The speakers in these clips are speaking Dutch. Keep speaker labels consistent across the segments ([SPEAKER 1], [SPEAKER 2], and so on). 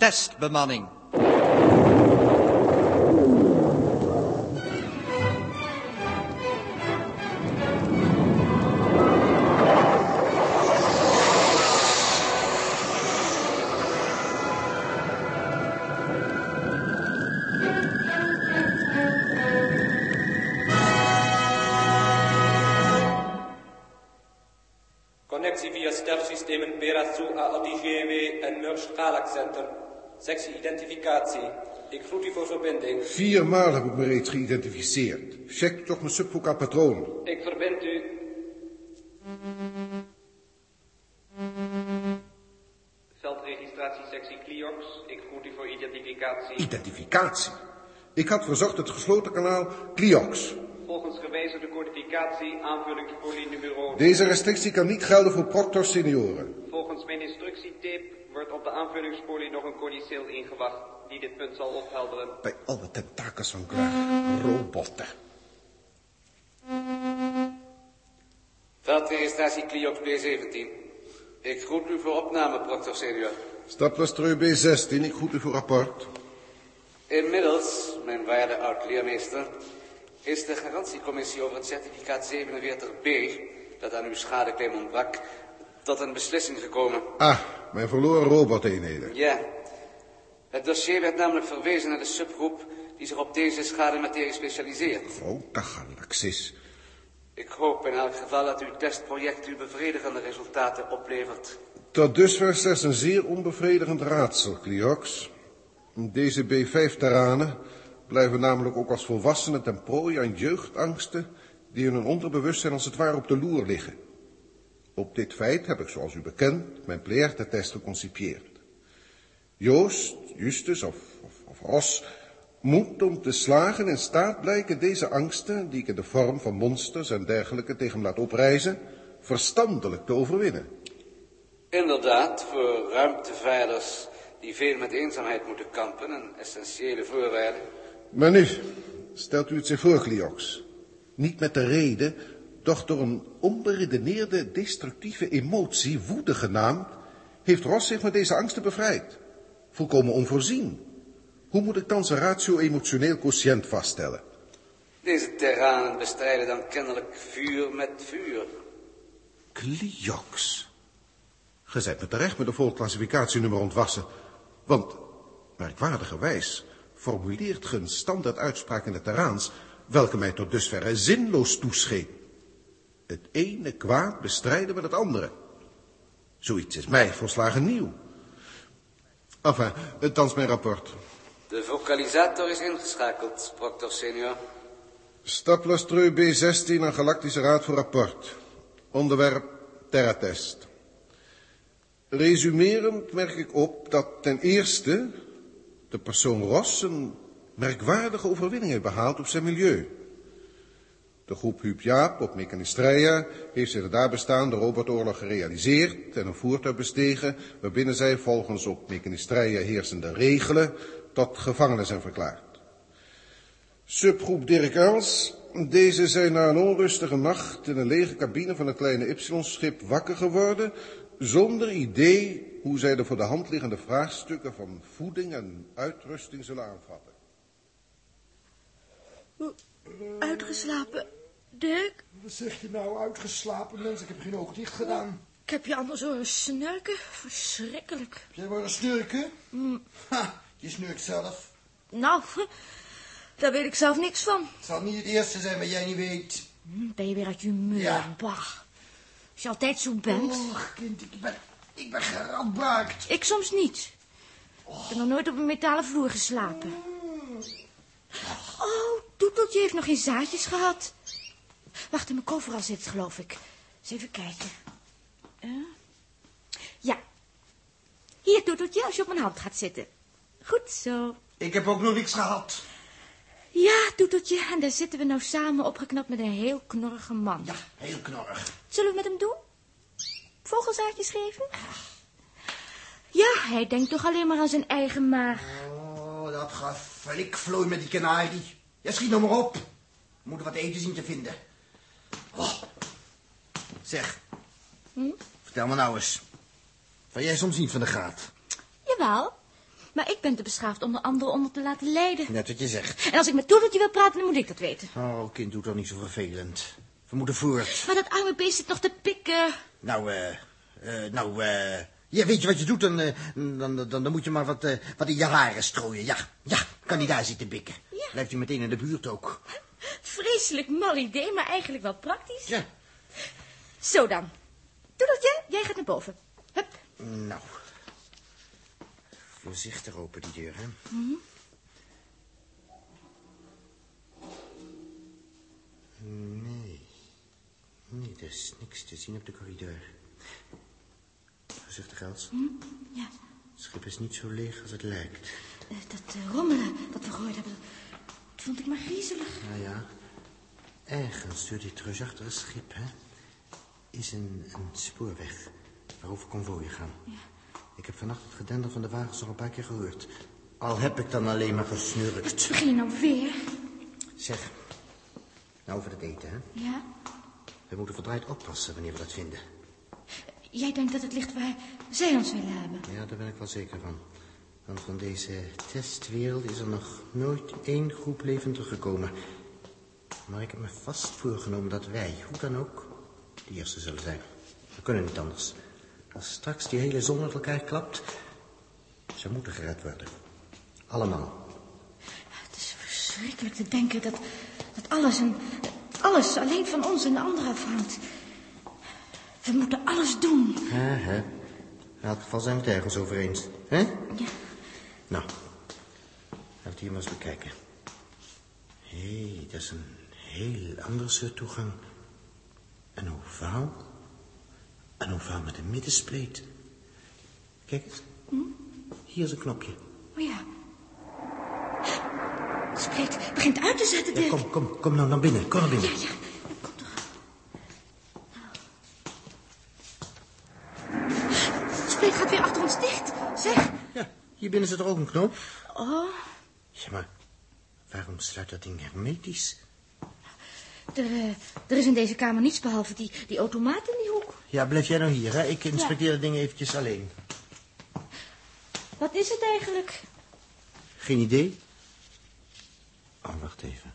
[SPEAKER 1] restbemanning.
[SPEAKER 2] Connectie via sterfsystemen Perazou a ADGW en Merge Galax Center. Sectie identificatie. Ik groet u voor verbinding.
[SPEAKER 3] Viermaal heb ik me reeds geïdentificeerd. Check toch mijn subboek aan patroon.
[SPEAKER 2] Ik verbind u. Veldregistratiesectie Cliox. Ik groet u voor identificatie.
[SPEAKER 3] Identificatie. Ik had verzocht het gesloten kanaal Cliox.
[SPEAKER 2] Volgens gewijzigde codificatie aanvulling polynumero.
[SPEAKER 3] Deze restrictie kan niet gelden voor Proctor senioren.
[SPEAKER 2] Volgens mijn instructietape wordt op de aanvullingspolie nog een codiceel ingewacht die dit punt zal ophelderen.
[SPEAKER 3] Bij alle tentakels van Graag. Robotten.
[SPEAKER 4] Veldregistratie Cliox B17. Ik groet u voor opname, Proctor Senior.
[SPEAKER 3] Staplastreu B16, ik groet u voor rapport.
[SPEAKER 4] Inmiddels, mijn waarde oud-leermeester, is de garantiecommissie over het certificaat 47B, dat aan uw schadeclaim ontbrak, tot een beslissing gekomen.
[SPEAKER 3] Ah, mijn verloren roboteenheden.
[SPEAKER 4] Ja, het dossier werd namelijk verwezen naar de subgroep die zich op deze schadematerie specialiseert.
[SPEAKER 3] Grote galaxis.
[SPEAKER 4] Ik hoop in elk geval dat uw testproject u bevredigende resultaten oplevert.
[SPEAKER 3] Tot dusver slechts een zeer onbevredigend raadsel, Cliox. Deze B5-terranen blijven namelijk ook als volwassenen ten prooi aan jeugdangsten... die in hun onderbewustzijn als het ware op de loer liggen. Op dit feit heb ik, zoals u bekend, mijn pleertetest geconcipieerd. Joost, Justus of, of, of Ros moet om te slagen in staat blijken deze angsten... die ik in de vorm van monsters en dergelijke tegen hem laat oprijzen... verstandelijk te overwinnen.
[SPEAKER 4] Inderdaad, voor ruimtevaarders die veel met eenzaamheid moeten kampen, een essentiële voorwaarde.
[SPEAKER 3] Maar nu, stelt u het zich voor, Cliox. Niet met de reden, doch door een onberedeneerde, destructieve emotie, woede genaamd, heeft Ross zich van deze angsten bevrijd. Volkomen onvoorzien. Hoe moet ik dan zijn ratio-emotioneel quotient vaststellen?
[SPEAKER 4] Deze terranen bestrijden dan kennelijk vuur met vuur.
[SPEAKER 3] Cliox. Ge zijt me terecht met de volklassificatienummer ontwassen. Want, merkwaardigerwijs, formuleert ge een standaard uitspraak in het Teraans... welke mij tot dusverre zinloos toescheen. Het ene kwaad bestrijden met het andere. Zoiets is mij volslagen nieuw. Enfin, eh, thans mijn rapport.
[SPEAKER 4] De vocalisator is ingeschakeld, Proctor Senior.
[SPEAKER 3] Staplastreu B16 aan Galactische Raad voor rapport. Onderwerp Terratest. Resumerend merk ik op dat ten eerste de persoon Ross een merkwaardige overwinning heeft behaald op zijn milieu. De groep Huub Jaap op Mechanistria heeft zich de daar bestaande robotoorlog gerealiseerd en een voertuig bestegen waarbinnen zij volgens op Mechanistria heersende regelen tot gevangenen zijn verklaard. Subgroep Dirk Els. Deze zijn na een onrustige nacht in een lege cabine van een kleine Y-schip wakker geworden, zonder idee hoe zij de voor de hand liggende vraagstukken van voeding en uitrusting zullen aanvatten.
[SPEAKER 5] Uitgeslapen. Dirk,
[SPEAKER 6] Wat zeg je nou, uitgeslapen mens? Ik heb geen oog dicht gedaan.
[SPEAKER 5] ik heb je anders horen snurken. Verschrikkelijk.
[SPEAKER 6] Jij wordt een snurken? Ha, je snurkt zelf.
[SPEAKER 5] Nou, daar weet ik zelf niks van.
[SPEAKER 6] Het zal niet het eerste zijn wat jij niet weet.
[SPEAKER 5] Hm, Ben je weer uit je muur?
[SPEAKER 6] Ja.
[SPEAKER 5] Bah. Als je altijd zo bent.
[SPEAKER 6] Och, kind, ik ben, ik ben geradbraakt.
[SPEAKER 5] Ik soms niet. Ik heb nog nooit op een metalen vloer geslapen. Oh, Toeteltje heeft nog geen zaadjes gehad. Wacht, in mijn koffer zit het, geloof ik. Eens even kijken. Eh? Ja. Hier, Toeteltje, als je op mijn hand gaat zitten. Goed zo.
[SPEAKER 6] Ik heb ook nog niks gehad.
[SPEAKER 5] Ja, Toeteltje, en daar zitten we nou samen opgeknapt met een heel knorrige man.
[SPEAKER 6] Ja, heel knorrig.
[SPEAKER 5] Zullen we met hem doen? Vogelzaadjes geven? Ja, hij denkt toch alleen maar aan zijn eigen maag.
[SPEAKER 6] Oh, dat geflikvlooi met die kanarie. Jij schiet nou maar op. We moeten wat eten zien te vinden. Oh. Zeg, Hm? vertel me nou eens. Van jij soms niet van de graad?
[SPEAKER 5] Jawel. Maar ik ben te beschaafd om de anderen onder te laten lijden.
[SPEAKER 6] Net wat je zegt.
[SPEAKER 5] En als ik met Toedeltje wil praten, dan moet ik dat weten.
[SPEAKER 6] Oh, kind, doet dat niet zo vervelend. We moeten voort.
[SPEAKER 5] Maar dat arme beest zit nog te pikken.
[SPEAKER 6] Nou, eh... eh, nou, eh... Ja, weet je wat je doet? Dan, eh, dan, dan, dan moet je maar wat, eh, wat in je haren strooien. Ja, ja, kan die daar zitten bikken.
[SPEAKER 5] Ja.
[SPEAKER 6] Blijft u meteen in de buurt ook.
[SPEAKER 5] Vreselijk mal idee, maar eigenlijk wel praktisch.
[SPEAKER 6] Ja,
[SPEAKER 5] Zo dan. Toedeltje, jij gaat naar boven. Hup.
[SPEAKER 6] nou. Voorzichtig open die deur, hè. Nee. Nee, er is niks te zien op de corridor. Voorzichtig, Els.
[SPEAKER 5] Ja,
[SPEAKER 6] Het schip is niet zo leeg als het lijkt.
[SPEAKER 5] eh, dat eh, rommelen dat we gehoord hebben, dat vond ik maar griezelig.
[SPEAKER 6] Nou ja, ergens door dit reusachtige schip, hè, is een, een spoorweg waarover konvooien gaan. Ik heb vannacht het gedender van de wagens nog een paar keer gehoord. Al heb ik dan alleen maar gesnurkt.
[SPEAKER 5] Begin je nou weer?
[SPEAKER 6] Zeg, nou over het eten, hè.
[SPEAKER 5] Ja?
[SPEAKER 6] We moeten verdraaid oppassen wanneer we dat vinden.
[SPEAKER 5] Jij denkt dat het ligt waar zij ons willen hebben.
[SPEAKER 6] Ja, daar ben ik wel zeker van. Want van deze testwereld is er nog nooit één groep levend teruggekomen. Maar ik heb me vast voorgenomen dat wij, hoe dan ook, de eerste zullen zijn. We kunnen niet anders. Als straks die hele zon uit elkaar klapt, ze moeten gered worden. Allemaal.
[SPEAKER 5] Het is verschrikkelijk te denken dat, dat alles, en, alles alleen van ons en de anderen afhangt. We moeten alles doen.
[SPEAKER 6] Hè, hè. In elk geval zijn we het ergens over eens. Hè?
[SPEAKER 5] Ja.
[SPEAKER 6] Nou, laten we het hier maar eens bekijken. Hé, dat is een heel andere soort toegang. Een ovaal. Een ovaal met een middenspleet. Kijk eens.
[SPEAKER 5] Hm?
[SPEAKER 6] Hier is een knopje.
[SPEAKER 5] Oh ja. De spleet begint uit te zetten,
[SPEAKER 6] Ja,
[SPEAKER 5] Dirk.
[SPEAKER 6] kom, kom, kom nou naar binnen. Kom naar binnen.
[SPEAKER 5] Ja, ja. De spleet gaat weer achter ons dicht. Zeg.
[SPEAKER 6] Ja, hier binnen zit er ook een knoop.
[SPEAKER 5] Oh,
[SPEAKER 6] Ja, maar waarom sluit dat ding hermetisch?
[SPEAKER 5] er, eh, er is in deze kamer niets behalve die, die automaat in die hoek.
[SPEAKER 6] Ja, blijf jij nou hier, hè? Ik inspecteer dat ding eventjes alleen.
[SPEAKER 5] Wat is het eigenlijk?
[SPEAKER 6] Geen idee? Oh, wacht even.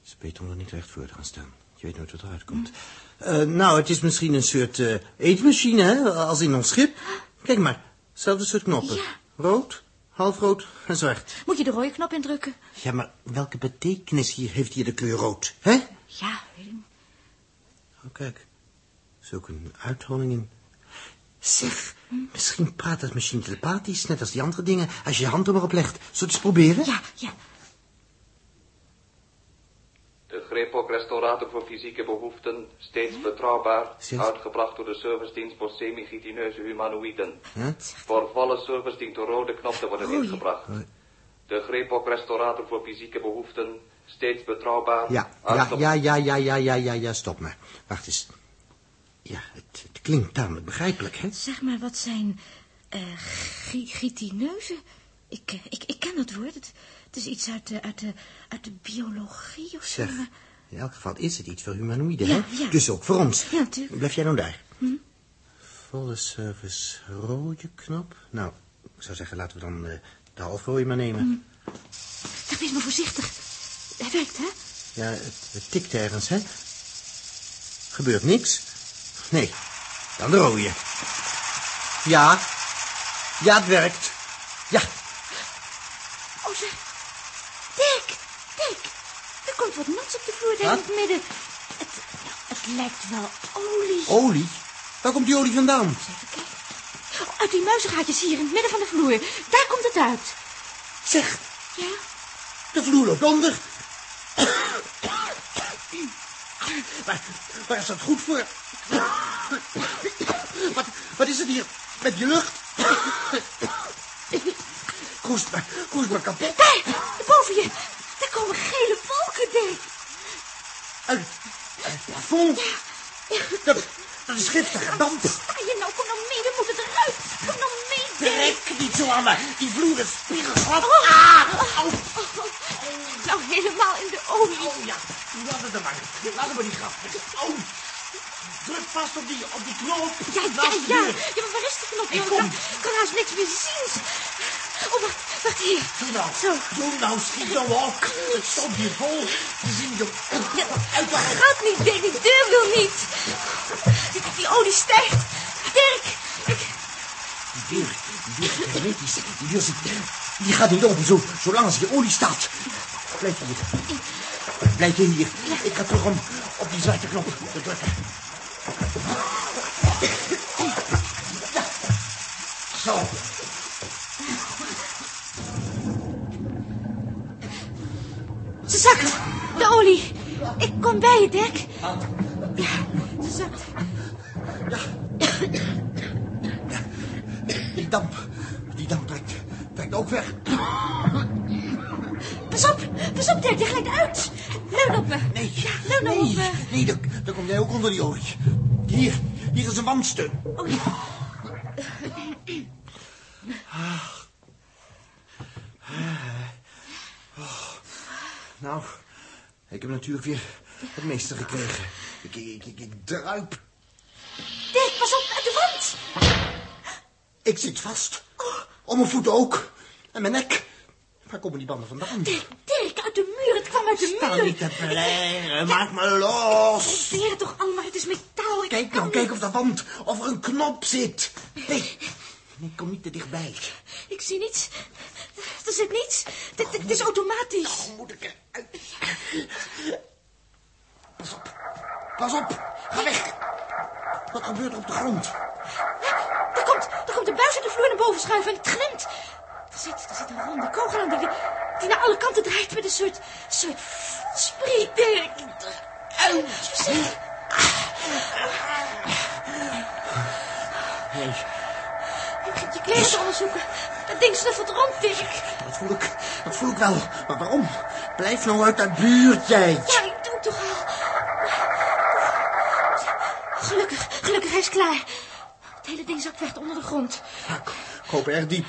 [SPEAKER 6] Het is beter om er niet recht voor te gaan staan. Je weet nooit wat eruit komt. Eh, nou, het is misschien een soort eh, eetmachine, hè? Als in ons schip. Kijk maar, zelfde soort knoppen.
[SPEAKER 5] Ja.
[SPEAKER 6] Rood, halfrood en zwart.
[SPEAKER 5] Moet je de rode knop indrukken?
[SPEAKER 6] Ja, maar welke betekenis hier heeft hier de kleur rood, hè?
[SPEAKER 5] Ja, weet ik niet.
[SPEAKER 6] Oh, kijk. Er is ook een uitholling in. Zeg, misschien praat dat machine telepathisch, net als die andere dingen. Als je je hand er maar op legt. Zullen we het eens proberen?
[SPEAKER 5] Ja, ja.
[SPEAKER 1] De Grepok Restaurator voor Fysieke Behoeften, steeds betrouwbaar,
[SPEAKER 6] Zit-
[SPEAKER 1] uitgebracht door de servicedienst voor semi-chitineuze humanoïden.
[SPEAKER 6] Huh?
[SPEAKER 1] Voor volle service dient de rode knop te worden
[SPEAKER 5] Oei.
[SPEAKER 1] ingebracht.
[SPEAKER 6] Oei.
[SPEAKER 1] De Grepok Restaurator voor Fysieke Behoeften, steeds betrouwbaar,
[SPEAKER 6] Ja,
[SPEAKER 4] Ah,
[SPEAKER 6] ja,
[SPEAKER 1] uitge-
[SPEAKER 6] ja, ja, ja, ja, ja, ja, ja, stop maar. Wacht eens. Ja, het, het klinkt tamelijk begrijpelijk, hè?
[SPEAKER 5] Zeg maar, wat zijn eh gi- gitineuzen? Ik, eh, ik, ik ken dat woord. Het, het is iets uit de, uit de, uit de biologie of zo.
[SPEAKER 6] Zeg,
[SPEAKER 5] maar-
[SPEAKER 6] in elk geval is het iets voor humanoïden,
[SPEAKER 5] Ja,
[SPEAKER 6] hè?
[SPEAKER 5] ja.
[SPEAKER 6] Dus ook voor ons.
[SPEAKER 5] Ja, natuurlijk. Hm?
[SPEAKER 6] Blijf jij nou daar. Volle service rode knop. Nou, ik zou zeggen, laten we dan eh, de halfrooie maar nemen.
[SPEAKER 5] Hm. Zeg, wees maar voorzichtig. Hij werkt, hè?
[SPEAKER 6] Ja, het, het tikt ergens, hè? Gebeurt niks. Nee, dan de rode. Ja, ja, het werkt. Ja,
[SPEAKER 5] Oh, zeg. Dick, Dick. Er komt wat nats op de vloer daar in
[SPEAKER 6] Wat?
[SPEAKER 5] het midden. Het, het lijkt wel olie.
[SPEAKER 6] Olie? Waar komt die olie vandaan?
[SPEAKER 5] Even kijken. Oh, Uit die muizengaatjes hier in het midden van de vloer. Daar komt het uit.
[SPEAKER 6] Zeg,
[SPEAKER 5] Ja?
[SPEAKER 6] de vloer loopt onder. Waar, waar is dat goed voor? Wat, wat is het hier met je lucht? Koest maar, koest maar kapot.
[SPEAKER 5] Daar, boven je. Daar komen gele wolken, Dick.
[SPEAKER 6] Uit het plafond. Dat, dat is giftige damp.
[SPEAKER 5] Sta je nou? Kom nou mee, we moeten eruit. Kom nou mee, Dick.
[SPEAKER 6] Trek niet zo aan me. Die vloer is spiegelglad.
[SPEAKER 5] Oh.
[SPEAKER 6] Ah, au.
[SPEAKER 5] Oh, nou, helemaal in de olie.
[SPEAKER 6] Oh ja, laat het er maar. Laat het maar niet grappig. Oh, druk vast op die, op die knoop.
[SPEAKER 5] Ja, ja,
[SPEAKER 6] Naast de
[SPEAKER 5] ja.
[SPEAKER 6] deur.
[SPEAKER 5] Ja, maar waar is die knop?
[SPEAKER 6] Ik
[SPEAKER 5] Ik
[SPEAKER 6] kom.
[SPEAKER 5] kan, kan haast niks meer zien. Oh, Hier.
[SPEAKER 6] Doe nou,
[SPEAKER 5] Zo. Oh,
[SPEAKER 6] doe nou, schiet nou op. Het stond hier vol. We zien je uit de
[SPEAKER 5] Dat gaat niet, Dirk. Die deur wil niet. Die, die olie stijgt. Dirk, ik...
[SPEAKER 6] Die deur, die deur, hermetisch. Die deur zit, die gaat niet open zo, zolang als hier olie staat. Blijf hier. Blijf je hier. Ik ga terug om op die zwarte knop te drukken. Ja. Zo.
[SPEAKER 5] Ze zakt. De olie. Ik kom bij je, Dirk. Ja, ze zakt.
[SPEAKER 6] Die damp, die damp trekt, trekt ook weg.
[SPEAKER 5] Pas op. Pas op, Dirk. Je glijdt uit. Leun op me.
[SPEAKER 6] Nee,
[SPEAKER 5] Ja, leun nou op
[SPEAKER 6] nee,
[SPEAKER 5] me.
[SPEAKER 6] nee, dan, dan kom jij ook onder die olie. Hier, hier is een wandsteun.
[SPEAKER 5] Oh, ja.
[SPEAKER 6] Ah. Nou, ik heb natuurlijk weer het meeste gekregen. Ik, ik, ik, ik druip.
[SPEAKER 5] Dirk, pas op. Uit de wand.
[SPEAKER 6] Ik zit vast. Om mijn voeten ook. En mijn nek. Waar komen die banden vandaan?
[SPEAKER 5] Dirk, Dirk. Uit de muur. Het kwam uit de
[SPEAKER 6] Sta
[SPEAKER 5] muur.
[SPEAKER 6] niet te pleren. Maak me los.
[SPEAKER 5] Probeer het toch allemaal. Het is metaal. Ik
[SPEAKER 6] Kijk
[SPEAKER 5] kan
[SPEAKER 6] nou,
[SPEAKER 5] niet.
[SPEAKER 6] kijk op de wand. Of er een knop zit. Nee, nee kom niet te dichtbij.
[SPEAKER 5] Ik zie niets. Er zit niets. Dit, dit is automatisch.
[SPEAKER 6] Moet ik eruit? Pas op. Pas op. Ga weg. Wat gebeurt er op de grond?
[SPEAKER 5] Er komt, er komt een buis uit de vloer naar boven schuiven en het glimt. Er zit, er zit een ronde kogel aan die, die, die naar alle kanten draait met een soort, soort spriet, Dirk. Voorzichtig.
[SPEAKER 6] Nee,
[SPEAKER 5] Je begint je kleren te onderzoeken. Dat ding snuffelt rond, Dirk.
[SPEAKER 6] dat voel ik. Dat voel ik wel. Maar waarom? Blijf nou uit dat buurt, jij.
[SPEAKER 5] Ja, ik doe het toch al. Gelukkig, gelukkig, hij is klaar. Het hele ding zakt weg onder de grond.
[SPEAKER 6] Ik hoop erg diep.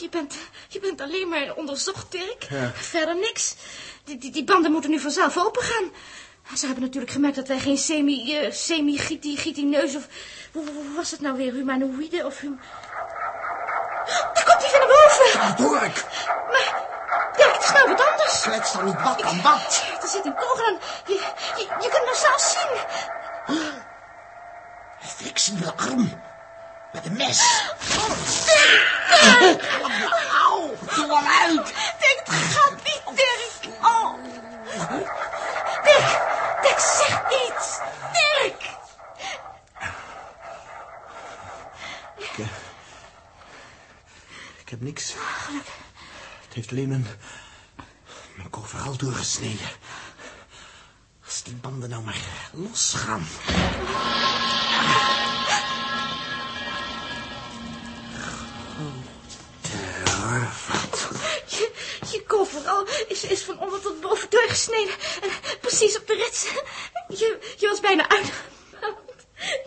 [SPEAKER 5] Je bent, je bent alleen maar onderzocht, Dirk.
[SPEAKER 6] Ja.
[SPEAKER 5] Verder niks. Die, die, die banden moeten nu vanzelf opengaan. Ze hebben natuurlijk gemerkt dat wij geen semi, eh, semi-giti-giti-neus of... Hoe, hoe- hoe was het nou weer? Humanoïde of... Hum... Daar komt hij van naar boven!
[SPEAKER 6] Dat hoor ik.
[SPEAKER 5] Maar, Dirk, het is nou wat anders.
[SPEAKER 6] Klets dan niet wat aan wat.
[SPEAKER 5] Er zit een kogel aan. Je, je, je kunt hem zelf zien.
[SPEAKER 6] Een flexibele arm. Met een mes. Auw, doe hem uit.
[SPEAKER 5] Dirk, het gaat niet, Dirk. Oh. Dirk, Dirk, zeg iets. Dirk.
[SPEAKER 6] Ik, eh, ik heb niks. Het heeft alleen mijn, mijn overal doorgesneden. Als die banden nou maar losgaan.
[SPEAKER 5] Je, je overal is, is van onder tot boven doorgesneden. En precies op de rits. Je, je was bijna uit.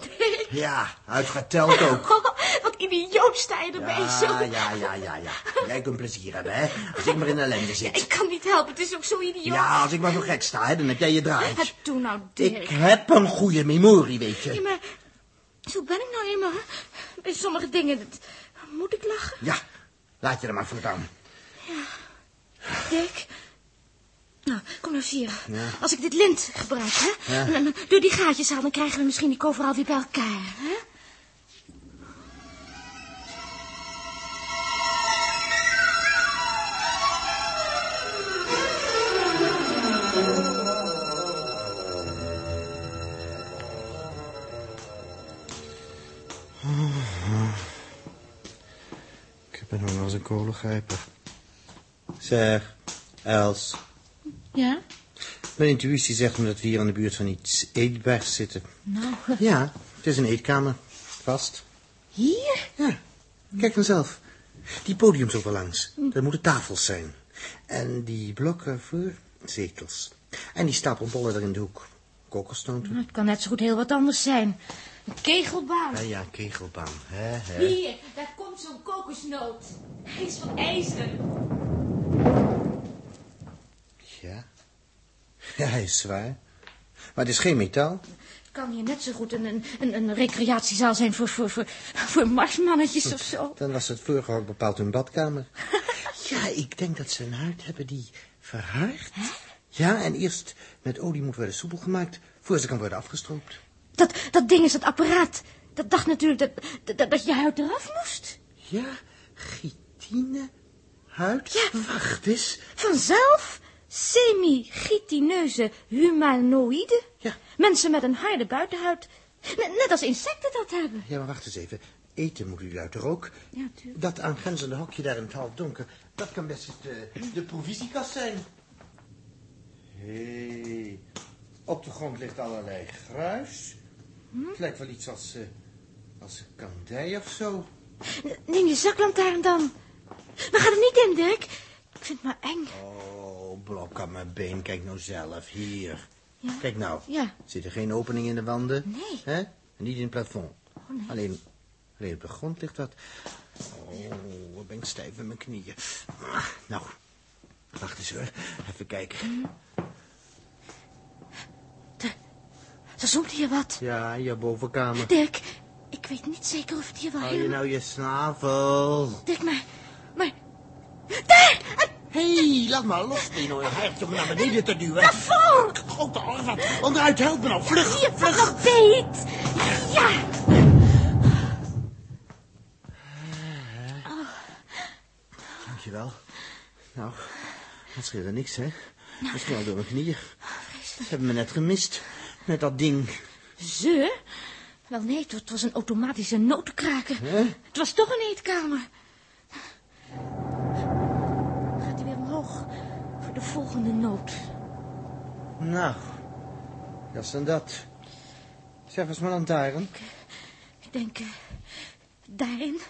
[SPEAKER 5] Dirk.
[SPEAKER 6] Ja, uitgeteld ook.
[SPEAKER 5] Oh, wat idioot sta je erbij
[SPEAKER 6] Ja,
[SPEAKER 5] zo.
[SPEAKER 6] ja, ja, ja, ja. Jij kunt plezier hebben, hè? Als ik maar in ellende zit.
[SPEAKER 5] Ik kan niet helpen, het is ook zo idioot.
[SPEAKER 6] Ja, als ik maar zo gek sta, hè, dan heb jij je draai.
[SPEAKER 5] Het doe nou, Dirk.
[SPEAKER 6] Ik heb een goede memorie, weet
[SPEAKER 5] Ja,
[SPEAKER 6] je.
[SPEAKER 5] maar zo ben ik nou eenmaal. hè. Bij sommige dingen dat- moet ik lachen.
[SPEAKER 6] Ja, laat je er maar voortaan.
[SPEAKER 5] Dirk. Nou, kom nou, Sierra.
[SPEAKER 6] Ja.
[SPEAKER 5] Als ik dit lint gebruik, hè,
[SPEAKER 6] Ja.
[SPEAKER 5] en, en door die gaatjes haal, dan krijgen we misschien die koverhaal weer bij elkaar. Hè?
[SPEAKER 7] Ik ben nog als een kolengrijper. Zeg, Els.
[SPEAKER 5] Ja?
[SPEAKER 7] Mijn intuïtie zegt me dat we hier aan de buurt van iets eetbaars zitten.
[SPEAKER 5] Nou,
[SPEAKER 7] Ja, het is een eetkamer. Vast.
[SPEAKER 5] hier?
[SPEAKER 7] Ja, kijk dan zelf. Die podiums over langs, daar moeten tafels zijn. En die blokken voor zetels. En die stapel bollen er in de hoek. Kokosnoten.
[SPEAKER 5] Het kan net zo goed heel wat anders zijn. Een kegelbaan.
[SPEAKER 7] Ah Ja, ja, kegelbaan. Hè, hè.
[SPEAKER 5] Hier, daar komt zo'n kokosnoot. Hij is van ijzer.
[SPEAKER 7] Ja. Ja, hij is zwaar. Maar het is geen metaal.
[SPEAKER 5] Het kan hier net zo goed een, een, een, een recreatiezaal zijn voor, voor, voor, voor marsmannetjes of zo.
[SPEAKER 7] Dan was het vorige ook bepaald hun badkamer.
[SPEAKER 6] Ja, ik denk dat ze een huid hebben die verhaart. Ja, en eerst met olie moet worden soepel gemaakt... voor ze kan worden afgestroopt.
[SPEAKER 5] Dat, dat ding is dat apparaat. Dat dacht natuurlijk dat, dat, dat je huid eraf moest.
[SPEAKER 6] Ja, chitine, huid.
[SPEAKER 5] Ja.
[SPEAKER 6] Wacht eens.
[SPEAKER 5] Vanzelf semi-chitineuze humanoïden.
[SPEAKER 6] Ja.
[SPEAKER 5] Mensen met een harde buitenhuid. Net, net als insecten dat hebben.
[SPEAKER 6] Ja, maar wacht eens even. Eten moet u uit de rook.
[SPEAKER 5] Ja, tuurlijk.
[SPEAKER 6] Dat aangrenzende hokje daar in het half donker... dat kan best eens de, de provisiekast zijn. Hé, op de grond ligt allerlei gruis.
[SPEAKER 5] Hm?
[SPEAKER 6] Het lijkt wel iets als, eh, als een kandij of zo.
[SPEAKER 5] Neem je zaklantaarn dan. Maar ga er niet in, Dirk. Ik vind het maar eng.
[SPEAKER 6] Oh, blok aan mijn been. Kijk nou zelf, hier. Kijk nou.
[SPEAKER 5] Ja.
[SPEAKER 6] Zit er geen opening in de wanden?
[SPEAKER 5] Nee. Oh,
[SPEAKER 6] Hè? En niet in het plafond.
[SPEAKER 5] nee.
[SPEAKER 6] alleen, alleen op de grond ligt wat. Oh, wat ben ik stijf in mijn knieën. Ah, Nou, wacht eens hoor. Even
[SPEAKER 5] Hm?
[SPEAKER 6] kijken.
[SPEAKER 5] Ze zoomt hier wat.
[SPEAKER 6] Ja, je bovenkamer.
[SPEAKER 5] Dirk, ik weet niet zeker of het hier wel
[SPEAKER 6] Hou je
[SPEAKER 5] helemaal...
[SPEAKER 6] nou je snavel.
[SPEAKER 5] Dirk, maar... Maar... Daar! Het
[SPEAKER 6] Hé, laat maar los, Dino. Je hebt om me naar beneden te duwen.
[SPEAKER 5] plafond!
[SPEAKER 6] Grote orvat. Onderuit, help me nou. Vlug,
[SPEAKER 5] Hier, pak
[SPEAKER 6] vlug.
[SPEAKER 5] nog beet! Ja!
[SPEAKER 6] Dankjewel. Nou, dat scheelde niks, hè? Misschien wel door mijn knieën. Ze hebben me net gemist. Met dat ding.
[SPEAKER 5] Ze? Wel nee, het was- het was een automatische notenkraker. Het was toch een eetkamer. Gaat hij weer omhoog voor de volgende noot.
[SPEAKER 6] Nou, dat is dan dat. Zeg eens mijn lantaarn.
[SPEAKER 5] Ik denk, eh, daarin.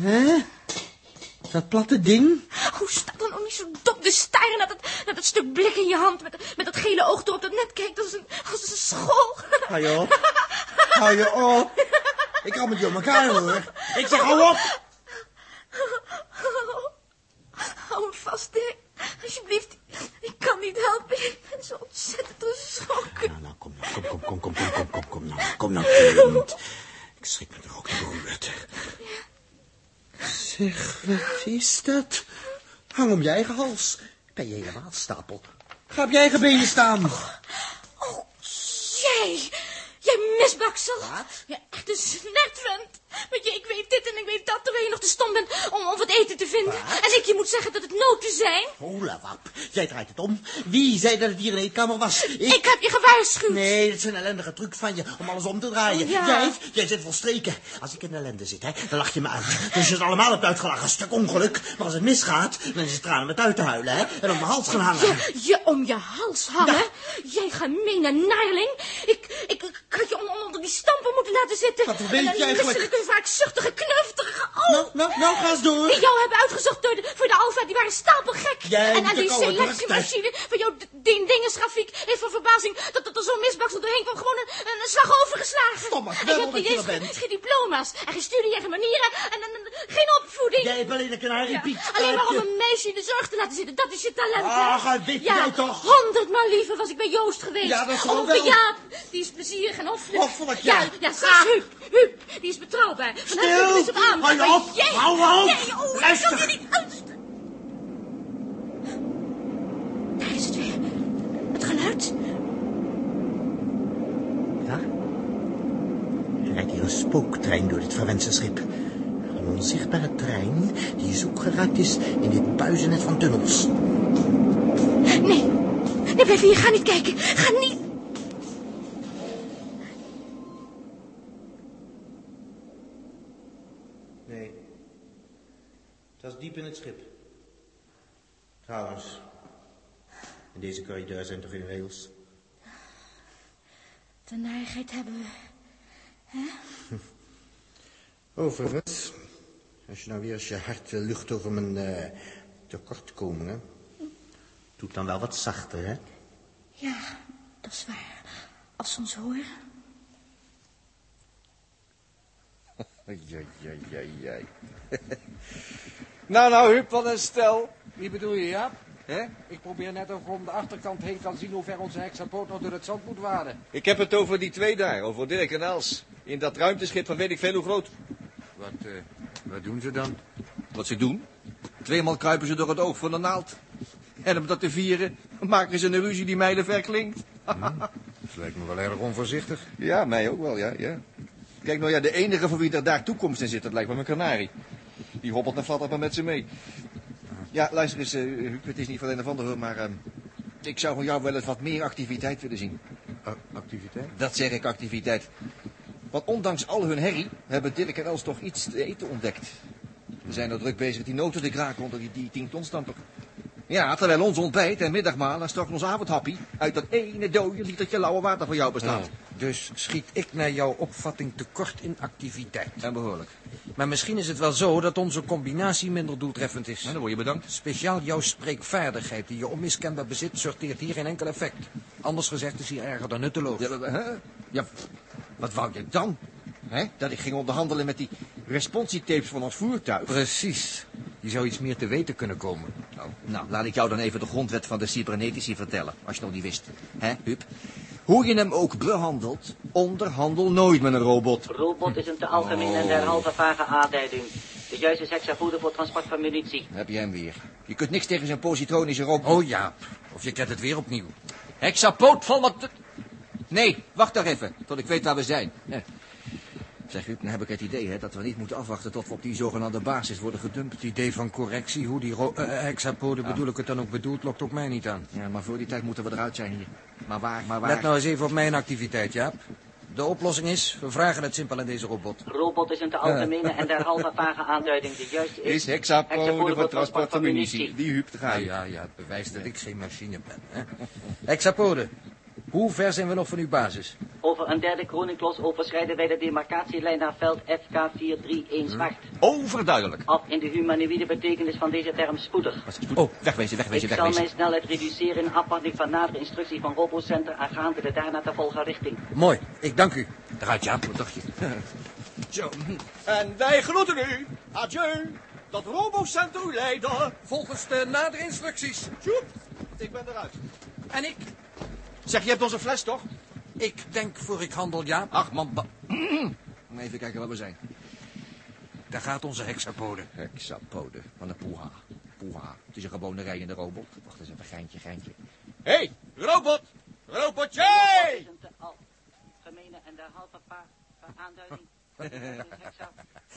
[SPEAKER 6] Hè? Dat platte ding?
[SPEAKER 5] Hoe sta dan ook niet zo dom te staren naar dat, naar dat stuk blik in je hand... met, met dat gele oog erop dat net kijkt als een, als een school.
[SPEAKER 6] Hou je op. Hou je op. Ik hou met je op elkaar, hoor. Ik zeg, hou op.
[SPEAKER 5] Hou me vast, Dirk. Alsjeblieft, ik kan niet helpen. Ik ben zo ontzettend geschrokken.
[SPEAKER 6] Nou, nou, kom nou. Kom, kom, kom, kom, kom, kom, kom, kom nou. Kom nou, kind. Ik schrik me er ook dood. Zeg, wat is dat? Hang om je eigen hals. Ben je helemaal stapel. Ga op je eigen benen staan.
[SPEAKER 5] Oh, jij. Jij misbaksel.
[SPEAKER 6] Wat?
[SPEAKER 5] Ja, echt een snertvent. Want je, ik weet dit en ik weet dat, terwijl je nog te stom bent om, om wat eten te vinden. En ik je moet zeggen dat het noten zijn.
[SPEAKER 6] Hola, wap. Jij draait het om. Wie zei dat het hier een eetkamer was?
[SPEAKER 5] Ik, heb je gewaarschuwd.
[SPEAKER 6] Nee, dat is een ellendige truc van je om alles om te draaien.
[SPEAKER 5] Oh, ja.
[SPEAKER 6] Jij, jij zit vol streken. Als ik in ellende zit, hè, dan lach je me uit. Dus je het allemaal hebt uitgelachen. Stuk ongeluk. Maar als het misgaat, dan is het tranen met uit te huilen, hè. En op mijn hals gaan hangen.
[SPEAKER 5] Je, je om je hals hangen?
[SPEAKER 6] Nou.
[SPEAKER 5] Jij gemene naailing. Ik, ik, ik had je on- on- onder die stampen moeten laten zitten.
[SPEAKER 6] Wat weet
[SPEAKER 5] En een
[SPEAKER 6] je eigenlijk?
[SPEAKER 5] misselijke, vaakzuchtige, knufterige... Oh,
[SPEAKER 6] Nou, nou, nou, ga eens door.
[SPEAKER 5] Die jou hebben uitgezocht door de, voor de Alfa, die waren stapelgek.
[SPEAKER 6] Jij
[SPEAKER 5] en
[SPEAKER 6] moet
[SPEAKER 5] aan
[SPEAKER 6] de
[SPEAKER 5] die
[SPEAKER 6] koude
[SPEAKER 5] selectiemachine van jouw d- ding- dingensgrafiek heeft van verbazing dat, dat er zo'n misbaksel doorheen kwam gewoon een, een, een slag overgeslagen.
[SPEAKER 6] Stomme
[SPEAKER 5] En
[SPEAKER 6] kwebbel
[SPEAKER 5] je hebt niet
[SPEAKER 6] dat je
[SPEAKER 5] eens
[SPEAKER 6] er
[SPEAKER 5] ge-
[SPEAKER 6] bent.
[SPEAKER 5] geen diploma's en geen studie en geen manieren en, en- en geen opvoeding.
[SPEAKER 6] Jij hebt alleen een kanariepiet.
[SPEAKER 5] Alleen maar om
[SPEAKER 6] Heb je-
[SPEAKER 5] een meisje in de zorg te laten zitten, dat is je talent. hè?
[SPEAKER 6] Ach, hij weet
[SPEAKER 5] ja,
[SPEAKER 6] nou toch.
[SPEAKER 5] honderdmaal liever was ik bij Joost geweest.
[SPEAKER 6] Ja, dat is
[SPEAKER 5] Of
[SPEAKER 6] wel
[SPEAKER 5] bij
[SPEAKER 6] wel.
[SPEAKER 5] Jaap, die is plezierig en hoffelijk.
[SPEAKER 6] Hoffelijk, ja. Ah.
[SPEAKER 5] Ja, ja zelfs Huub, Huub, die is betrouwbaar. Van hem
[SPEAKER 6] Stil.
[SPEAKER 5] komt het op aan.
[SPEAKER 6] Hou je
[SPEAKER 5] Maar
[SPEAKER 6] op.
[SPEAKER 5] jij-
[SPEAKER 6] Hou op.
[SPEAKER 5] Nee, oh, ik
[SPEAKER 6] Luister.
[SPEAKER 5] kan er niet uitstaan. Daar is het weer. Het geluid.
[SPEAKER 6] Ja? Er rijdt hier een spooktrein door dit verwenste schip. Een onzichtbare trein die zoek geraakt is in dit buizennet van tunnels.
[SPEAKER 5] Nee. Nee, blijf hier. Ga niet kijken. Ga niet.
[SPEAKER 6] Nee. Dat is diep in het schip. Trouwens, in deze corridor zijn toch geen regels?
[SPEAKER 5] De narigheid hebben we.
[SPEAKER 6] Overigens, als je nou weer eens je hart wil lucht over mijn eh tekortkomingen, doe het dan wel wat zachter, hè?
[SPEAKER 5] Ja, dat is waar. Als ze ons horen.
[SPEAKER 6] Ja, ja, ja, ja.
[SPEAKER 8] Nou, nou, Huub, wat een stel. Wie bedoel je, Jaap? Hè? Ik probeer net of ik om de achterkant heen kan zien hoe ver onze heksenpoot nog door het zand moet waden.
[SPEAKER 1] Ik heb het over die twee daar, over Dirk en Els. In dat ruimteschip van weet ik veel hoe groot.
[SPEAKER 8] Wat, wat doen ze dan?
[SPEAKER 1] Wat ze doen?
[SPEAKER 9] Tweemaal kruipen ze door het oog van de naald. En om dat te vieren maken ze een ruzie die mijlen ver klinkt.
[SPEAKER 3] Dat lijkt me wel erg onvoorzichtig.
[SPEAKER 9] Ja, mij ook wel, ja, ja. Kijk nou, ja, de enige voor wie er daar toekomst in zit, dat lijkt me mijn kanarie. Die hobbelt en flattert maar met ze mee. Ja, luister eens, eh, Huub, het is niet van een of ander, hoor, maar... eh, ik zou van jou wel eens wat meer activiteit willen zien.
[SPEAKER 3] eh,
[SPEAKER 10] activiteit?
[SPEAKER 9] Dat zeg ik activiteit. Want ondanks al hun herrie hebben Dirk en Els toch iets te eten ontdekt. We zijn er druk bezig die noten te kraken onder die, die 10 ton stamper. Ja, terwijl ons ontbijt en middagmaal en straks ons avondhappie... uit dat ene dode litertje lauwe water voor jou bestaat.
[SPEAKER 10] Dus schiet ik naar jouw opvatting tekort in activiteit.
[SPEAKER 9] En behoorlijk.
[SPEAKER 10] Maar misschien is het wel zo dat onze combinatie minder doeltreffend is.
[SPEAKER 9] Nou, dan word je bedankt.
[SPEAKER 10] Speciaal jouw spreekvaardigheid die je onmiskenbaar bezit sorteert hier geen enkel effect. Anders gezegd is hier erger dan nutteloos.
[SPEAKER 9] Ja, hè? ja, wat wou je dan? Hè? Dat ik ging onderhandelen met die responsietapes van ons voertuig.
[SPEAKER 10] Precies. Je zou iets meer te weten kunnen komen.
[SPEAKER 9] Oh, nou, laat ik jou dan even de grondwet van de cybernetici vertellen, als je nog niet wist. Hè, Huub? Hoe je hem ook behandelt, onderhandel nooit met een robot.
[SPEAKER 11] Robot is een te algemeen en derhalve vage aanduiding. De juiste seks en goede voor transport van munitie.
[SPEAKER 9] Dan heb je hem weer. Je kunt niks tegen zijn positronische robot.
[SPEAKER 10] Oh Jaap, of je kent het weer opnieuw. Hexapoot van wat...
[SPEAKER 9] Nee, wacht nog even, tot ik weet waar we zijn. Hè. Zeg Huub, dan heb ik het idee hè, dat we niet moeten afwachten tot we op die zogenaamde basis worden gedumpt.
[SPEAKER 10] Het idee van correctie, hoe die ro- eh, hexapoden bedoel ik het dan ook bedoelt, lokt ook mij niet aan.
[SPEAKER 9] Ja, maar voor die tijd moeten we eruit zijn hier. Maar waar, maar waar?
[SPEAKER 10] Let nou eens even op mijn activiteit, Jaap. De oplossing is, we vragen het simpel aan deze robot.
[SPEAKER 11] Robot is een te algemene en derhalve vage aanduiding. De juiste is...
[SPEAKER 9] is hexapode
[SPEAKER 11] hexapode
[SPEAKER 9] voor transport van munitie. Die huub te
[SPEAKER 10] Ja,
[SPEAKER 9] gaan.
[SPEAKER 10] ja, ja, het bewijst dat ik geen machine ben. Hè? Hexapoden, hoe ver zijn we nog van uw basis?
[SPEAKER 11] Over een derde koninklos overschrijden wij de demarcatielijn naar veld FK4318 zwart.
[SPEAKER 9] Hm. Overduidelijk.
[SPEAKER 11] Af in de humanoïde betekenis van deze term spoedig.
[SPEAKER 9] Oh, wegwezen, wegwezen,
[SPEAKER 11] Ik zal mijn
[SPEAKER 9] wegwezen.
[SPEAKER 11] snelheid reduceren in afwachting van nadere instructie van RoboCenter aangaande de daarna te volgen richting.
[SPEAKER 10] Mooi, ik dank u. Eruit, Jaap. Wat dacht je?
[SPEAKER 9] Zo. En wij groeten u. Adieu. Dat robocenter u leider.
[SPEAKER 10] Volgens de nadere instructies.
[SPEAKER 9] Tjoep. Ik ben eruit.
[SPEAKER 10] En ik?
[SPEAKER 9] Zeg, je hebt onze fles toch?
[SPEAKER 10] Ik denk voor ik handel, Jaap.
[SPEAKER 9] Ach man, ba- Even kijken waar we zijn.
[SPEAKER 10] Daar gaat onze hexapode.
[SPEAKER 9] Hexapode. Van een poeha. Poeha. Het is een gewone rijende robot. Wacht eens even, geintje, geintje. Hé, hey, robot. Robotje.
[SPEAKER 11] Is een te algemene en derhalve va- va- aanduiding. van de juiste seks en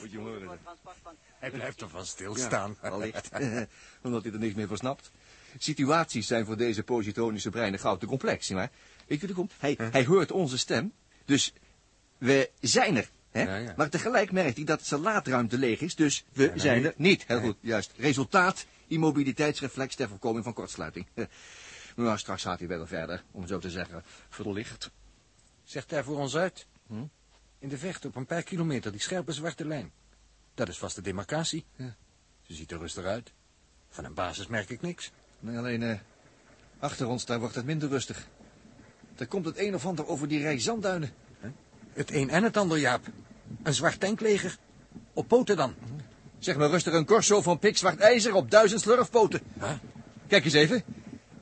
[SPEAKER 9] Moet je hem horen,
[SPEAKER 11] voor
[SPEAKER 9] hè?
[SPEAKER 11] transport van-
[SPEAKER 10] Hij blijft ervan stilstaan.
[SPEAKER 9] Allicht. Omdat hij er niks meer van snapt. Situaties zijn voor deze positronische breinen gauw te complex. zie Maar weet je hoe het komt? Hij, hij hoort onze stem. Dus we zijn er. Hè?
[SPEAKER 10] Ja, ja.
[SPEAKER 9] Maar tegelijk merkt hij dat zijn laadruimte leeg is. Dus we zijn er niet. Heel goed, juist. Resultaat, immobiliteitsreflex ter voorkoming van kortsluiting. Nou, straks gaat hij wel verder, om zo te zeggen, verlicht.
[SPEAKER 10] Zegt daar voor ons uit.
[SPEAKER 6] Hm?
[SPEAKER 10] In de vecht op een paar kilometer, die scherpe zwarte lijn. Dat is vast de demarcatie. Ze ziet er rustig uit. Van een basis merk ik niks.
[SPEAKER 9] Nee, alleen eh, achter ons, daar wordt het minder rustig. Daar komt het een of ander over die rij zandduinen.
[SPEAKER 10] Het een en het ander, Jaap. Een zwart tankleger. Op poten dan.
[SPEAKER 9] Zeg maar rustig een corso van pikzwart ijzer op duizend slurfpoten.
[SPEAKER 10] Huh?
[SPEAKER 9] Kijk eens even.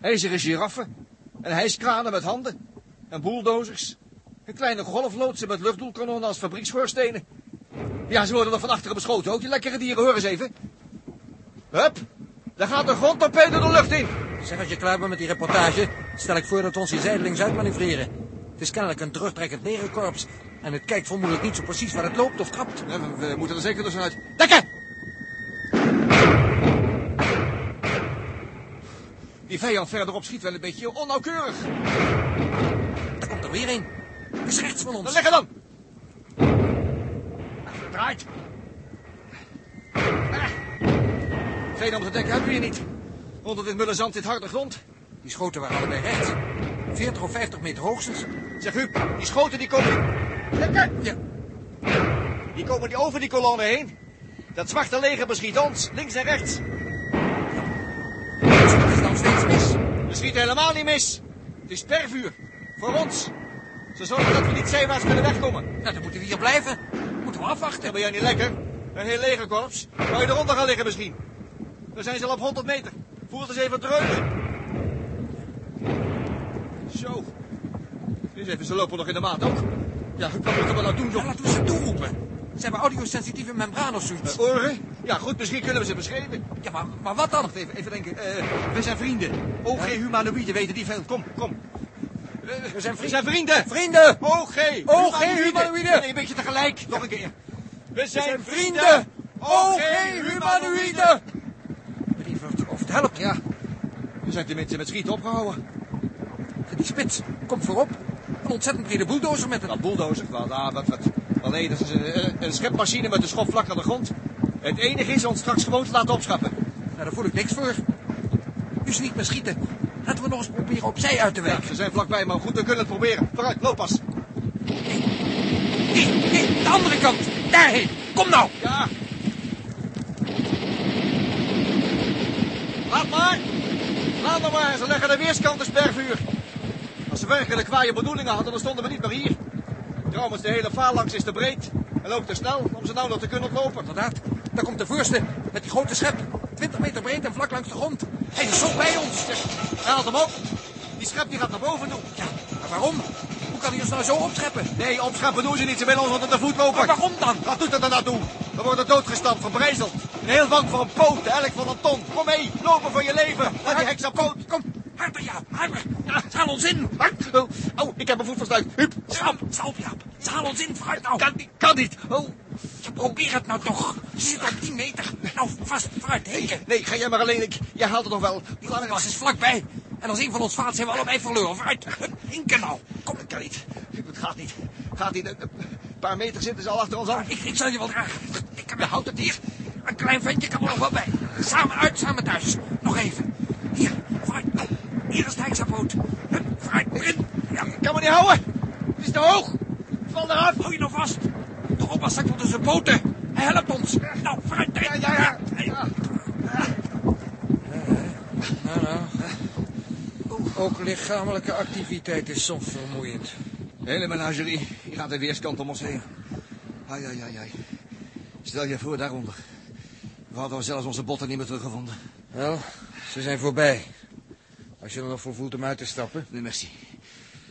[SPEAKER 9] IJzeren giraffen. En hijskranen met handen. En bulldozers. En kleine golfloodsen met luchtdoelkanonnen als fabriekschoorstenen. Ja, ze worden er van achteren beschoten ook. Die lekkere dieren, hoor eens even. Hup, daar gaat een grondtorpedo de lucht in.
[SPEAKER 10] Zeg, als je klaar bent met die reportage, stel ik voor dat we ons hier zijdelings uitmanoeuvreren. Het is kennelijk een terugtrekkend legerkorps. En het kijkt vermoedelijk niet zo precies waar het loopt of trapt.
[SPEAKER 9] we, moeten er zeker dus uit.
[SPEAKER 10] Dekken!
[SPEAKER 9] Die vijand verderop schiet wel een beetje onnauwkeurig.
[SPEAKER 10] Daar komt er weer een. Het is rechts van ons.
[SPEAKER 9] liggen dan! Draait! Ah. Geen om te denken hebben we hier niet. Onder dit mulle zand, dit harde grond.
[SPEAKER 10] Die schoten waren allebei rechts. 40 of 50 meter hoogstens.
[SPEAKER 9] Zeg Huub, die schoten die komen... Lekker!
[SPEAKER 10] Ja,
[SPEAKER 9] Die komen die over die kolonne heen. Dat zwarte leger beschiet ons, links en rechts.
[SPEAKER 10] het is dan steeds mis.
[SPEAKER 9] We schieten helemaal niet mis. Het is pervuur. Voor ons. Ze zorgen dat we niet zeewaarts kunnen wegkomen.
[SPEAKER 10] Nou, dan moeten we hier blijven. Moeten we afwachten.
[SPEAKER 9] Dat ben jij niet lekker. Een heel legerkorps. Wou je eronder gaan liggen misschien? Dan zijn ze al op 100 meter. Voel het eens even dreunen. Zo. Dus even, ze lopen nog in de maat ook. Ja, wat moeten we nou doen, joh?
[SPEAKER 10] Ja, laten we ze toeroepen.
[SPEAKER 9] Ze hebben audiosensitieve membraan of zoiets.
[SPEAKER 8] Eh, oren? Ja, goed, misschien kunnen we ze beschrijven. Ja, maar, maar wat dan? Even, even denken. Eh, we zijn vrienden. OG humanoïden weten die veel. Kom, kom. We, zijn vrienden. We zijn vrienden.
[SPEAKER 9] Vrienden! Oh,
[SPEAKER 8] OG.
[SPEAKER 9] OG humanoïden.
[SPEAKER 8] humanoïden. Nee, een beetje tegelijk. Nog een keer. We
[SPEAKER 9] zijn vrienden.
[SPEAKER 8] Oh,
[SPEAKER 9] Oh, OG humanoïden.
[SPEAKER 8] Lieverd, of het helpt. Ja. We zijn tenminste met schieten opgehouden.
[SPEAKER 9] Die spits, kom voorop. Een ontzettend brede bulldozer met een...
[SPEAKER 8] Wat bulldozer? Wat, ah, wat, wat. Wel, nee, dat is een, een- een schepmachine met een schop vlak aan de grond. Het enige is ons straks gewoon te laten opschappen.
[SPEAKER 9] Nou, daar voel ik niks voor. Dus niet meer schieten. Laten we nog eens proberen opzij uit te
[SPEAKER 8] Ja,
[SPEAKER 9] werken.
[SPEAKER 8] ze zijn vlakbij, maar goed, we kunnen het proberen. Vooruit, loop pas.
[SPEAKER 9] Nee, de andere kant. Daarheen. Kom nou.
[SPEAKER 8] Ja. Laat maar. Laat maar maar. Ze leggen de weerskant eens pervuur. Als ze werkelijk kwaaie bedoelingen hadden, dan stonden we niet meer hier. Trouwens, de hele phalanx is te breed en loopt te snel om ze nou nog te kunnen lopen.
[SPEAKER 9] Inderdaad. Daar komt de voorste met die grote schep. 20 meter breed en vlak langs de grond. Hij is zo bij ons. dus
[SPEAKER 8] Hij haalt hem op. Die schep die gaat naar boven toe.
[SPEAKER 9] Ja, maar waarom? Hoe kan hij ons nou zo opscheppen?
[SPEAKER 8] Nee, opschappen doen ze niet. Ze willen ons onder de voet lopen.
[SPEAKER 9] Maar waarom dan?
[SPEAKER 8] Wat doet dat er nou toe? We worden doodgestampt, verbrezeld. Een heel bang voor een poot, elk van een ton. Kom mee, lopen voor je leven. Laat die heks nou aan poot.
[SPEAKER 9] Kom, harder ja, harder. Ze halen ons in.
[SPEAKER 8] Hart. Oh, oh, ik heb mijn voet verstuikt. Hup.
[SPEAKER 9] Stap, stap Jaap. Ze halen ons in, vooruit nou.
[SPEAKER 8] Kan niet, kan niet. Oh.
[SPEAKER 9] Ja, probeer het nou toch. Ze zit op 10 meter. Nou, vast, vooruit, heken.
[SPEAKER 8] Nee, ga jij maar alleen. Ik, jij haalt het nog wel.
[SPEAKER 9] Die andere was is vlakbij. En als een van ons faalt, zijn we allebei verloren. Vooruit, hinken nou. Kom,
[SPEAKER 8] Dat kan niet. Het gaat niet. Gaat niet. Een een paar meter zitten ze al achter ons aan.
[SPEAKER 9] ik, ik zal je wel dragen. Ik heb houd het hier. Een klein ventje kan er nog wel bij. Samen uit, samen thuis. Nog even. Hier, vooruit. Hier is de heksapoot. Hup, Vooruit, erin. Ja,
[SPEAKER 8] Ik kan me niet houden. Het is te hoog. Val eraf.
[SPEAKER 9] hou je nou vast. De oppas zakt onder zijn poten. Hij helpt ons. Nou, vooruit,
[SPEAKER 8] Ja, ja, ja.
[SPEAKER 4] Nou, nou. Ook lichamelijke activiteit is soms vermoeiend.
[SPEAKER 8] De hele menagerie. Hier gaat de weerskant om ons heen. Ai, ai, ai, ai. Stel je voor daaronder. We hadden zelfs onze botten niet meer teruggevonden.
[SPEAKER 4] Wel, ze zijn voorbij. Als je er nog voor voelt om uit te stappen.
[SPEAKER 8] Nee, merci.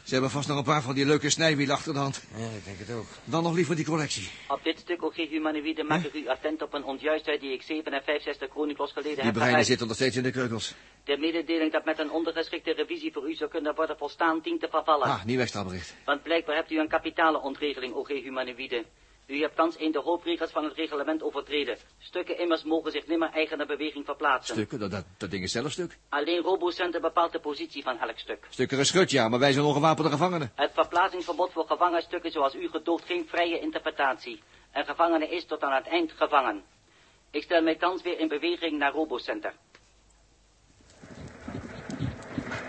[SPEAKER 8] Ze hebben vast nog een paar van die leuke snijwielen achter de hand.
[SPEAKER 4] Ja, ik denk het ook.
[SPEAKER 8] Dan nog liever die collectie.
[SPEAKER 11] Op dit stuk, OG humanoïde, maak ik u attent op een onjuistheid die ik 67 chroniklos geleden
[SPEAKER 8] Die
[SPEAKER 11] heb
[SPEAKER 8] breinen
[SPEAKER 11] geuit.
[SPEAKER 8] zitten nog steeds in de kreukels.
[SPEAKER 11] De mededeling dat met een ondergeschikte revisie voor u zou kunnen worden volstaan dient te vervallen.
[SPEAKER 8] Ah, nieuw extra bericht.
[SPEAKER 11] Want blijkbaar hebt u een kapitale ontregeling, OG humanoïde. U hebt thans een de hoofdregels van het reglement overtreden. Stukken immers mogen zich nimmer eigen naar beweging verplaatsen.
[SPEAKER 8] Stukken, dat, dat, dat ding is zelf stuk.
[SPEAKER 11] Alleen robocenten bepaalt de positie van elk stuk.
[SPEAKER 8] Stukken geschut, ja, maar wij zijn ongewapende gevangenen.
[SPEAKER 11] Het verplaatsingsverbod voor gevangenstukken zoals u gedoogt geen vrije interpretatie. Een gevangene is tot aan het eind gevangen. Ik stel mij thans weer in beweging naar Robocenter.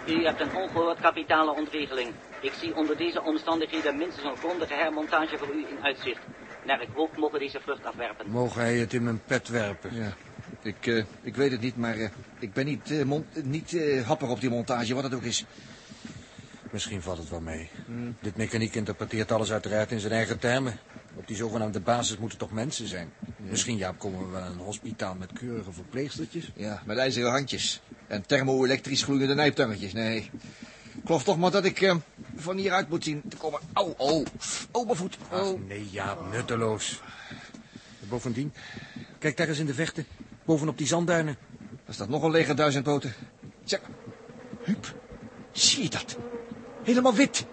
[SPEAKER 11] U hebt een ongehoord kapitale ontregeling. Ik zie onder deze omstandigheden minstens een grondige hermontage voor u in uitzicht. Naar ik hoop mogen deze vlucht afwerpen.
[SPEAKER 4] Mogen hij het in mijn pet werpen?
[SPEAKER 8] Ja, ik, eh, ik weet het niet, maar eh, ik ben niet, eh, mon- eh, niet eh, happer op die montage, wat het ook is.
[SPEAKER 4] Misschien valt het wel mee. Dit mechaniek interpreteert alles uiteraard in zijn eigen termen. Op die zogenaamde basis moeten toch mensen zijn. Misschien, Jaap, komen we wel aan een hospitaal met keurige verpleegstertjes.
[SPEAKER 8] Ja, met ijzeren handjes. En thermo-elektrisch gloeiende nijptangetjes, nee. Klopt toch maar dat ik eh, van hieruit moet zien te komen. Au, au, au, mijn voet. Au.
[SPEAKER 4] Nee, Jaap, nutteloos. En Bovendien, kijk daar eens in de vechten. Bovenop die zandduinen.
[SPEAKER 8] Er staat nog een lege duizend poten. Zeg, Huub, zie je dat? Helemaal wit.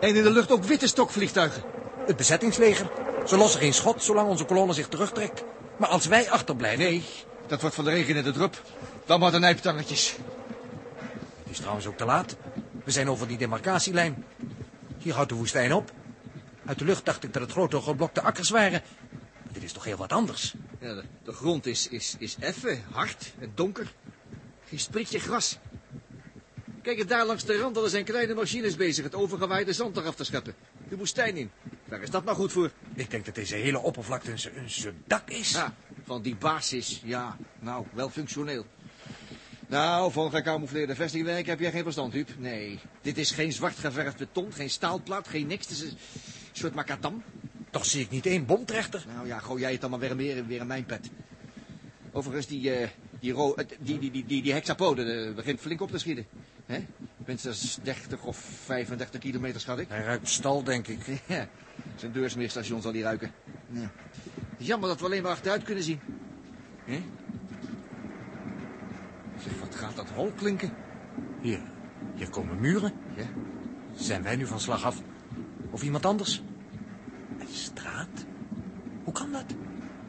[SPEAKER 8] En in de lucht ook witte stokvliegtuigen.
[SPEAKER 4] Het bezettingsleger. Ze lossen geen schot zolang onze kolonne zich terugtrekt. Maar als wij achterblijven...
[SPEAKER 8] Nee, dat wordt van de regen in de drup. Dan maar de nijptangetjes.
[SPEAKER 4] Het is trouwens ook te laat. We zijn over die demarcatielijn. Hier houdt de woestijn op. Uit de lucht dacht ik dat het grote geblokte akkers waren. Maar dit is toch heel wat anders.
[SPEAKER 8] Ja, de, de grond is, is, is effen, hard en donker. Geen sprietje gras. Kijk, en daar langs de rand er zijn kleine machines bezig het overgewaaide zand eraf te scheppen. De woestijn in. Waar is dat nou goed voor?
[SPEAKER 4] Ik denk dat deze hele oppervlakte een, se- een subdak is.
[SPEAKER 8] Ja, van die basis, ja. Nou, wel functioneel. Nou, van gecamoufleerde vestingwerk heb jij geen verstand, Huub. Nee, dit is geen zwart geverfd beton, geen staalplaat, geen niks. Het is een soort macadam.
[SPEAKER 4] Toch zie ik niet één bomtrechter.
[SPEAKER 8] Nou ja, gooi jij het dan maar weer, weer, weer in mijn pet. Overigens, die, eh, die, ro- eh, die, die, die, die, die hexapoden eh, begint flink op te schieten. Hè? Minstens 30 of 35 kilometer, schat ik.
[SPEAKER 4] Hij ruikt stal, denk ik.
[SPEAKER 8] Ja, zijn deursmeerstation zal die ruiken.
[SPEAKER 9] Ja. Jammer dat we alleen maar achteruit kunnen zien.
[SPEAKER 12] Hé?
[SPEAKER 9] Zeg, wat gaat dat hol klinken?
[SPEAKER 12] Hier, hier komen muren.
[SPEAKER 9] Ja.
[SPEAKER 12] Zijn wij nu van slag af? Of iemand anders? Een straat? Hoe kan dat?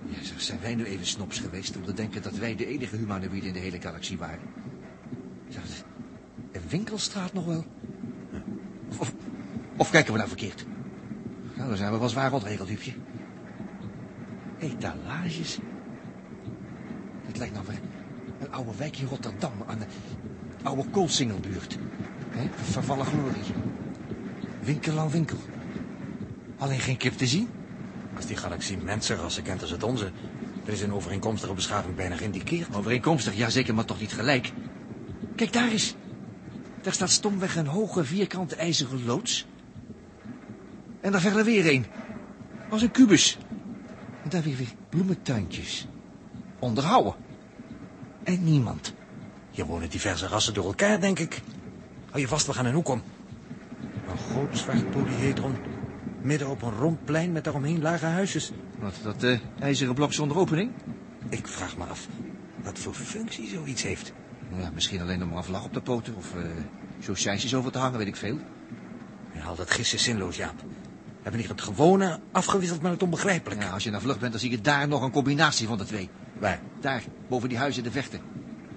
[SPEAKER 9] Ja, zeg, zijn wij nu even snops geweest om te denken dat wij de enige humanoïden in de hele galaxie waren? Zeg, een winkelstraat nog wel? Of, of, of kijken we nou verkeerd? Nou, dan zijn we wel zwaar ontregeld, Huubje. Etalages? Dit lijkt nou weer een oude wijk in Rotterdam aan de oude koolsingelbuurt. Hè, Vervallen glorie. Winkel aan winkel. Alleen geen kip te zien?
[SPEAKER 12] Als die galaxie mensenrassen kent als het onze, dan is een overeenkomstige beschaving bijna geïndiceerd.
[SPEAKER 9] Overeenkomstig, ja zeker, maar toch niet gelijk. Kijk daar eens. Daar staat stomweg een hoge vierkante ijzeren loods. En daar verder weer een. Als een kubus. En daar weer weer bloementuintjes. Onderhouden. En niemand.
[SPEAKER 12] Hier wonen diverse rassen door elkaar, denk ik. Hou je vast, we gaan een hoek om. Een groot zwart polyhedron. Midden op een rond plein met daaromheen lage huisjes.
[SPEAKER 9] Wat, dat eh, ijzeren blok zonder opening?
[SPEAKER 12] Ik vraag me af wat voor functie zoiets heeft.
[SPEAKER 9] Ja, misschien alleen om er een vlag op te poten of eh saucijsjes over te hangen, weet ik veel.
[SPEAKER 12] Ja, al dat gist is zinloos, Jaap. We hebben hier het gewone afgewisseld met het onbegrijpelijke.
[SPEAKER 9] Ja, als je naar vlug bent, dan zie je daar nog een combinatie van de twee.
[SPEAKER 12] Waar?
[SPEAKER 9] Daar, boven die huizen de vechten.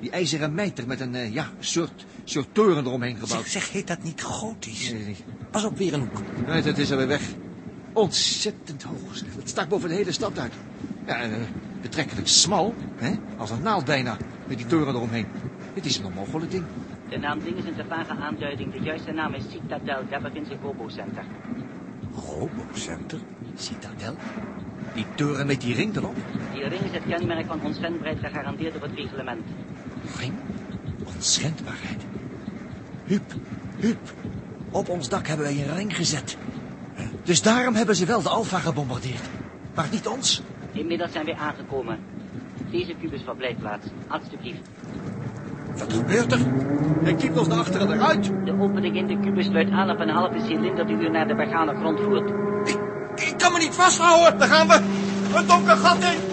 [SPEAKER 9] Die ijzeren mijter met een, eh, ja, soort, soort toren eromheen gebouwd.
[SPEAKER 12] Zeg, zeg, heet dat niet gotisch?
[SPEAKER 9] Nee, nee.
[SPEAKER 12] Pas op, weer een hoek.
[SPEAKER 9] Nee, dat is alweer weg. Ontzettend hoog, zeg. Het stak boven de hele stad uit. Ja, en, eh, betrekkelijk smal, hè? Als een naald bijna, met die toren eromheen. Het is een onmogelijk ding.
[SPEAKER 11] De naam Ding is een te vage aanduiding. De juiste naam is Citadel. Daar begint zijn robocenter.
[SPEAKER 12] Robocenter?
[SPEAKER 9] Citadel? Die toren met die ring erop?
[SPEAKER 11] Die ring is het kenmerk van onschendbaarheid gegarandeerd door het reglement.
[SPEAKER 12] Ring? Onschendbaarheid. Huub, Huub. Op ons dak hebben wij een ring gezet.
[SPEAKER 9] Dus daarom hebben ze wel de Alfa gebombardeerd. Maar niet ons.
[SPEAKER 11] Inmiddels zijn wij aangekomen. Deze kubus verblijfplaats. Alsjeblieft.
[SPEAKER 12] Wat gebeurt er?
[SPEAKER 9] Hij kiept ons naar achteren eruit.
[SPEAKER 11] De opening in de kubus luidt aan op een halve cilinder die u naar de begane grond voert.
[SPEAKER 9] Ik kan me niet vasthouden. Daar gaan we. Een donker gat in.